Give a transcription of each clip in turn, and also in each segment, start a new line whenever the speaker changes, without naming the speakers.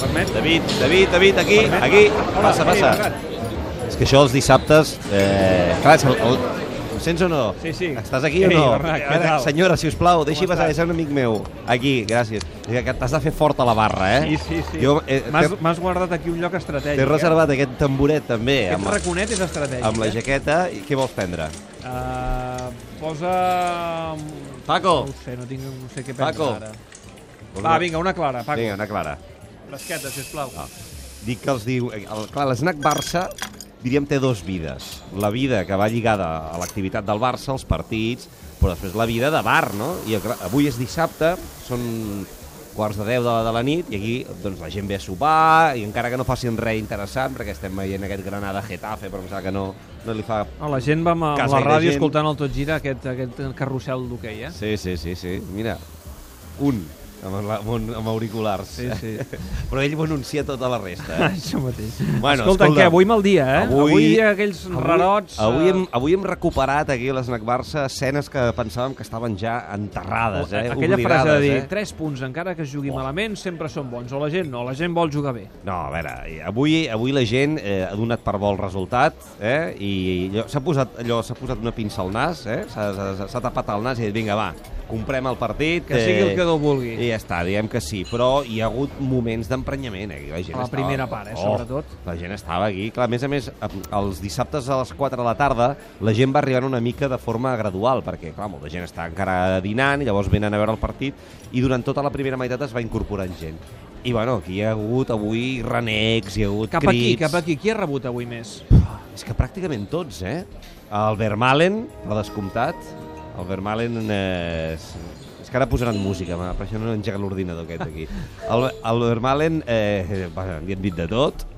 permet.
David, David, David, aquí,
Permet.
aquí.
Hola,
Passa,
David,
passa.
Bernat.
És que això els dissabtes... Eh, clar, és el, el, em sents o no?
Sí, sí.
Estàs aquí
Ei,
o no?
Bernat, què tal?
Senyora, si us plau, deixi
Com
passar,
estàs?
és un amic meu. Aquí, gràcies. És que T'has de fer fort a la barra, eh?
Sí, sí, sí.
Jo, eh,
M'has
T'he
m'has guardat aquí un lloc estratègic.
t'he reservat aquest tamboret també,
Eh? Aquest eh?
amb, la-
raconet és estratègic.
amb la jaqueta. I què vols prendre?
Uh, posa...
Paco.
No ho sé, no, tinc, no sé què penso
Oh. Paco.
ara. Va, vinga, una clara, Paco.
Vinga, una clara.
Fresqueta, sisplau.
Ah. Dic que els diu... eh, El, clar, l'esnac Barça diríem té dos vides. La vida que va lligada a l'activitat del Barça, els partits, però després la vida de bar, no? I eh, clar, avui és dissabte, són quarts de 10 de la, de la nit i aquí doncs, la gent ve a sopar i encara que no facin res interessant perquè estem veient aquest Granada Getafe però em sembla que no, no li fa...
No, la gent va amb, amb
Casa
la
i de
ràdio
gent.
escoltant el Tot Gira, aquest, aquest carrusel d'hoquei, eh?
Sí, sí, sí, sí. Mira, un amb, la, amb, un- amb auriculars.
Sí, sí.
Però ell ho anuncia tota la resta. Eh?
Això mateix.
Bueno,
escolta,
escolta,
què? Avui mal dia, eh?
avui-
avui hi ha aquells rarots...
Avui
eh,
hem, avui hem recuperat aquí a l'Snac Barça escenes que pensàvem que estaven ja enterrades, eh?
Aquella
oblidades,
frase de dir,
eh?
3 punts, encara que es jugui malament, sempre són bons. O la gent no, la gent vol jugar bé.
No, a veure, eh, avui, avui la gent eh, ha donat per bo el resultat eh? i allò- s'ha posat, allò, s'ha posat una pinça al nas, eh? s'ha s'ha- s'ha tapat el nas i ha dit, vinga, va, comprem el partit. eh,
Que sigui el que Déu vulgui.
I ja està, diguem que sí, però hi ha hagut moments d'emprenyament. Eh? La, gent
A la
estava... Oh.
primera part, eh, sobretot.
La gent estava aquí. Clar, a més a més, a- els dissabtes a les 4 de la tarda la gent va arribar una mica de forma gradual, perquè, clar, molta gent està encara dinant, i llavors venen a veure el partit, i durant tota la primera meitat es va incorporant gent. I, bueno, aquí hi ha hagut avui renecs, hi ha hagut
Cap
crits...
aquí, cap aquí. Qui ha rebut avui més?
És que pràcticament tots, eh? El Vermalen, per descomptat. El Vermalen eh, és... És que ara posaran música, ma, per això no engega l'ordinador aquest aquí. El, el Vermalen, eh, vaja, li han dit de tot.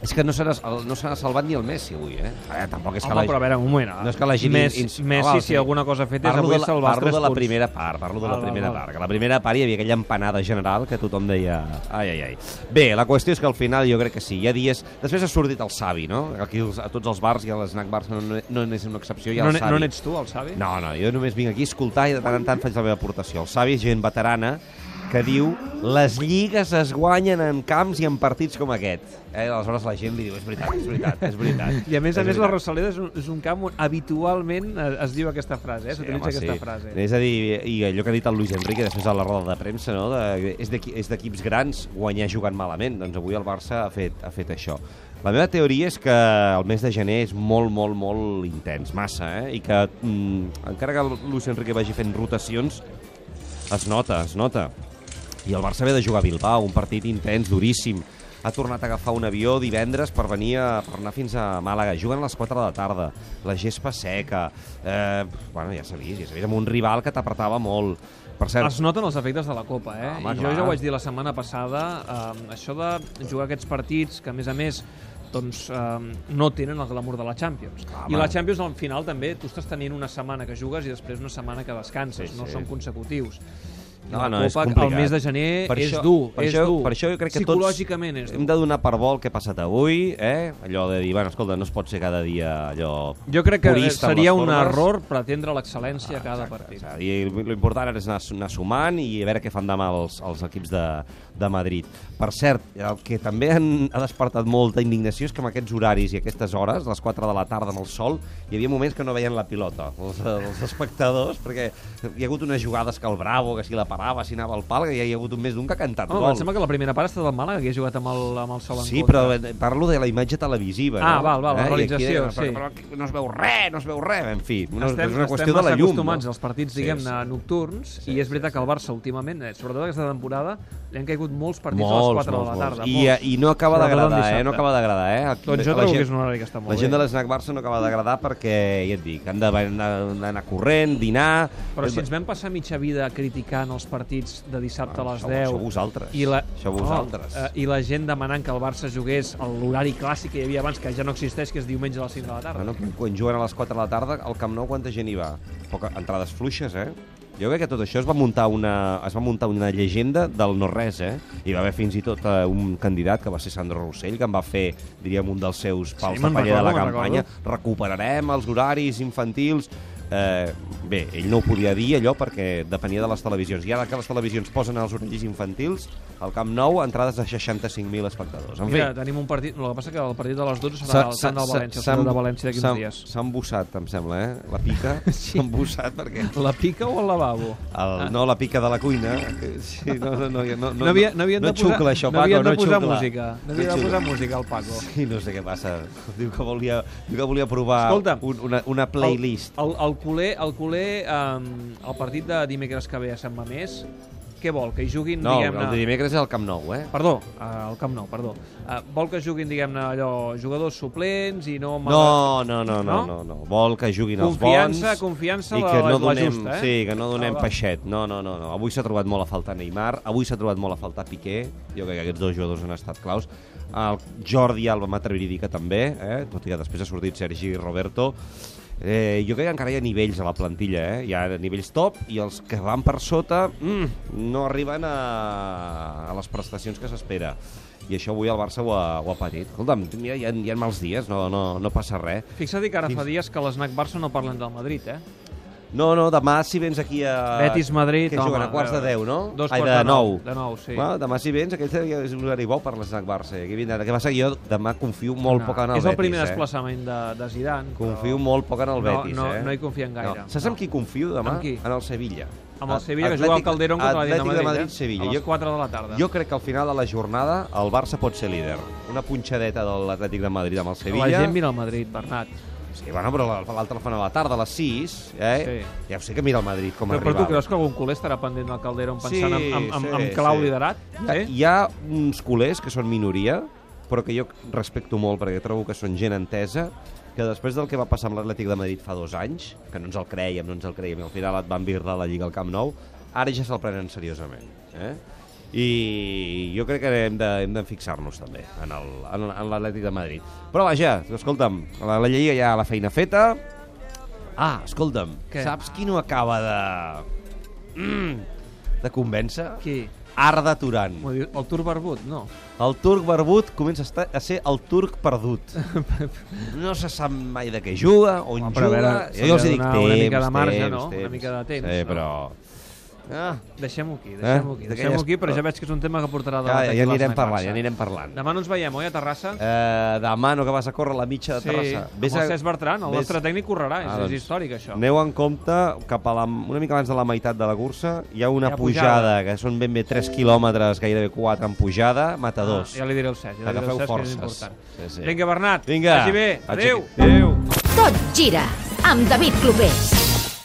És que no se n'ha no se n'ha salvat ni el Messi avui, eh? Ara, tampoc és que
Home,
la...
però a veure, un moment. eh?
No és que la gent
Messi,
ins-
Messi
Ah, val,
si
sí.
alguna cosa ha fet és
Parlo de
avui
la,
salvar els
parlo
3
de la
punts.
primera part, parlo de la
Val,
primera
val, val.
part. Que la primera part hi havia aquella empanada general que tothom deia... Ai, ai, ai. Bé, la qüestió és que al final jo crec que sí, hi ha dies... Després ha sortit el savi, no? Aquí els, a tots els bars i a l'esnac bars no, no, no n'és una excepció, hi ha
No,
el
ne-
savi.
no n'ets tu, el savi?
No, no, jo només vinc aquí a escoltar i de tant en tant faig la meva aportació. El savi és gent veterana que diu les lligues es guanyen en camps i en partits com aquest. Eh? Aleshores la gent li diu, és veritat, és veritat, és veritat.
I a més a
és
més la
veritat."
Rosaleda és un, és un camp on habitualment eh, es diu aquesta frase, eh? s'utilitza
home,
aquesta frase.
És a dir, i allò que ha dit el Luis Enrique després a la roda de premsa, no? de, és d'equi- és d'equips grans guanyar jugant malament. Doncs avui el Barça ha fet, ha fet això. La meva teoria és que el mes de gener és molt, molt, molt intens, massa, eh? I que mm, encara que el Luis Enrique vagi fent rotacions, es nota, es nota. I el Barça ve de jugar a Bilbao, un partit intens, duríssim. Ha tornat a agafar un avió divendres per venir a, per anar fins a Màlaga. Juguen a les 4 de la tarda, la gespa seca... Eh, bueno, ja s'ha vist, ja s'ha vist, amb un rival que t'apretava molt. Per cert,
Es noten els efectes de la Copa, eh?
Home,
I jo
clar.
ja ho vaig dir la setmana passada, eh, això de jugar aquests partits que, a més a més, doncs eh, no tenen el glamour de la Champions.
Home.
I la Champions, al final, també, tu estàs tenint una setmana que jugues i després una setmana que descanses,
Sí,
no
sí.
són consecutius. I
No,
la
no, és
Copa,
complicat.
el mes de gener
Per
és
això-
dur,
per
és
això-
dur.
per això jo crec que tots
Psicològicament és
hem
dur.
de donar per vol què ha passat avui, eh? Allò de dir, bueno, escolta, no es pot ser cada dia allò...
Jo crec que eh,
purista amb
seria
les
un
formes. Ah,
error pretendre l'excel·lència a cada partit.
És a dir, l'important ara és anar, anar sumant i a veure què fan demà els, els equips de, de Madrid. Per cert, el que també han, ha despertat molta indignació és que amb aquests horaris i aquestes hores, les 4 de la tarda amb el sol, hi havia moments que no veien la pilota, els, els espectadors, perquè hi ha hagut unes jugades que el Bravo, que si la parava, si anava al pal, que hi ha hagut un més d'un que ha cantat
Home,
gol.
em sembla que la primera part ha estat el Màlaga, que ha jugat amb el, amb el sol en
Sí,
contra.
però eh, parlo de la imatge televisiva.
Ah,
no? Eh?
val, val, la
I aquí
realització,
deien,
sí.
Però, però no es veu res, no es veu res. En fi, no,
estem,
és una qüestió
estem
de la
massa
llum.
acostumats
no?
als partits,
Sí,
diguem-ne,
sí.
nocturns,
Sí,
i és veritat que el Barça últimament, eh, sobretot aquesta temporada, li han caigut molts partits
Molts,
a les 4
molts,
de la tarda.
molts. I, eh, I no acaba
Sobretot el
d'agradar, eh?
dissabte.
No acaba d'agradar, eh? El-
Doncs jo
la
trobo que
gent-
és un horari que està molt
La gent
bé.
de l'Snac Barça no acaba d'agradar perquè, ja et dic, han de- han de- d'anar corrent, dinar...
Però si ens vam passar mitja vida criticant els partits de dissabte a les
Això-
10...
això vosaltres.
I la...
Això vosaltres.
No, eh, I la gent demanant que el Barça jugués a l'horari clàssic que hi havia abans, que ja no existeix, que és diumenge a les 5 de la tarda.
Bueno, quan- quan juguen a les 4 de la tarda, al Camp Nou quanta gent hi va? Poca, entrades fluixes, eh? Jo crec que tot això es va muntar una, es va muntar una llegenda del no-res, eh? Hi va haver fins i tot eh, un candidat que va ser Sandro Rossell, que en va fer, diríem, un dels seus pals
Sí,
de
me'n
paller de la
recordo, me'n
campanya. Recuperarem els horaris infantils... eh, bé, ell no ho podia dir allò perquè depenia de les televisions. I ara que les televisions posen els orellis infantils, al Camp Nou, entrades de 65.000 espectadors. En fi,
Mira, tenim un partit... El que passa que el partit de les 12 serà
S'ha-
el
s'ha-
Sant del
s'ha-
València, el
s'ha-
Sant de València d'aquí
s'ha-
uns dies.
S'ha embussat, em sembla, eh? La pica s'ha embussat perquè...
La pica o el lavabo?
El, no, la pica de la cuina. eh, Sí, no, no, no, no,
Ah. No, havia, no havien
no
de posar,
xucla, això,
no havien
Paco,
de posar
xucla.
música. No havien de
xucla.
posar música al Paco.
Sí, no sé què passa. Diu que volia, diu que volia provar
Escolta,
un, una, una playlist.
El, el, el culer, el, culer um, el partit de dimecres que ve a Sant Mamés, què vol? Que hi juguin,
no, el
diguem-ne...
de dimecres és al Camp Nou, eh?
Perdó, eh, al Camp Nou, perdó. Eh, vol que juguin, diguem-ne, allò, jugadors suplents i no...
No, no, no, no,
No?
no, no. Vol que juguin
Confiança,
els bons.
confiança
i
la-
que no
la
donem,
justa, eh?
Sí, que no donem
Ah, va.
peixet. No, no, no, no. Avui s'ha trobat molt a faltar Neymar, avui s'ha trobat molt a faltar Piqué. Jo crec que aquests dos jugadors han estat claus. El Jordi Alba m'atreviria a dir que també, eh? tot i que després ha sortit Sergi Roberto. Eh, jo crec que encara hi ha nivells a la plantilla, eh? hi ha nivells top i els que van per sota mm, no arriben a, a les prestacions que s'espera i això avui el Barça ho ha, ho ha patit. Escolta'm, mira, hi ha, hi ha mals dies, no, no, no passa res.
Fixa't que ara fa dies que a l'Snac Barça no parlen del Madrid, eh?
No, no, demà si vens aquí a...
Betis Madrid,
que juguen
home,
a quarts de
a veure,
10, no?
dos
Ai,
quarts de
de 9.
nou, de nou, sí.
Va, demà si vens, aquell és un horari bo per l'Snac Barça. i Aquí vindran. Que passa que jo demà confio molt poc en el
és
Betis,
el primer
eh?
desplaçament de, de Zidane.
Confio
però...
molt poc en el
No,
Betis,
no-
eh?
no hi confiem gaire.
Saps
No.
amb qui confio demà?
Amb qui?
En el Sevilla.
Amb el
A-
Sevilla, que
Atlètic-
juga al Calderón contra la Dinamo
Atlètic
Madrid,
de Madrid,
eh?
Sevilla.
A les
Jo-
4 de la tarda.
Jo crec que al final de la jornada el Barça pot ser líder. Una punxadeta de l'Atlètic de Madrid amb el Sevilla.
La gent mira al Madrid, Bernat.
Sí, bueno, però la- l'altre fan a la tarda, a les 6, eh? Ja ho sé que mira el Madrid com a
Però, però tu
rival.
creus que algun culer estarà pendent del Calderón
Sí,
pensant en, en, en,
sí,
en que l'ha
sí.
liderat?
Hi ha,
Sí?
hi ha uns culers que són minoria, però que jo respecto molt perquè trobo que són gent entesa, que després del que va passar amb l'Atlètic de Madrid fa dos anys, que no ens el creiem, no ens el creiem, i al final et van virdar la Lliga al Camp Nou, ara ja se'l prenen seriosament. Eh? I jo crec que hem de, hem de fixar-nos també en el- en en l'Atlètic de Madrid. Però vaja, escolta'm, la, la Lliga ja la feina feta. Ah, escolta'm,
Què?
saps qui no acaba de... Mm, de convèncer?
Qui?
Arda Turan.
M'ho diu- El Tur Barbut? No.
El turc barbut comença a, estar, a ser el turc perdut. No se sap mai de què juga, on
Home,
juga...
però a veure, se li ha de donar una mica de marge, no? Una mica de temps,
Sí,
no?
però... Ah,
Deixem-ho aquí, deixem-ho aquí.
d'aquelles-
Deixem-ho aquí, però ja veig que és un tema que portarà
ja,
debat aquí
ja
a la
anirem
Snack
parlant,
Barça.
ja anirem parlant.
Demà no ens veiem, oi, a Terrassa?
Eh, demà no que vas Eh, a córrer la mitja de
sí,
Terrassa.
amb el Cesc Bertran, el
vés-
nostre tècnic correrà, és,
Ah, doncs.
és històric, això.
Aneu en compte, cap a la, una mica abans de la meitat de la cursa, hi ha una
Hi ha
pujada,
pujada.
que són ben bé 3 quilòmetres, gairebé 4 en pujada, matadors.
ja li diré Ah, el Cesc, ja li diré
Agafeu
el Cesc, que és
forces.
important.
Sí, sí.
Vinga, Bernat,
Vinga.
vagi bé.
Vagi
Adéu.
bé.
Adéu.
Tot gira amb David Clopés.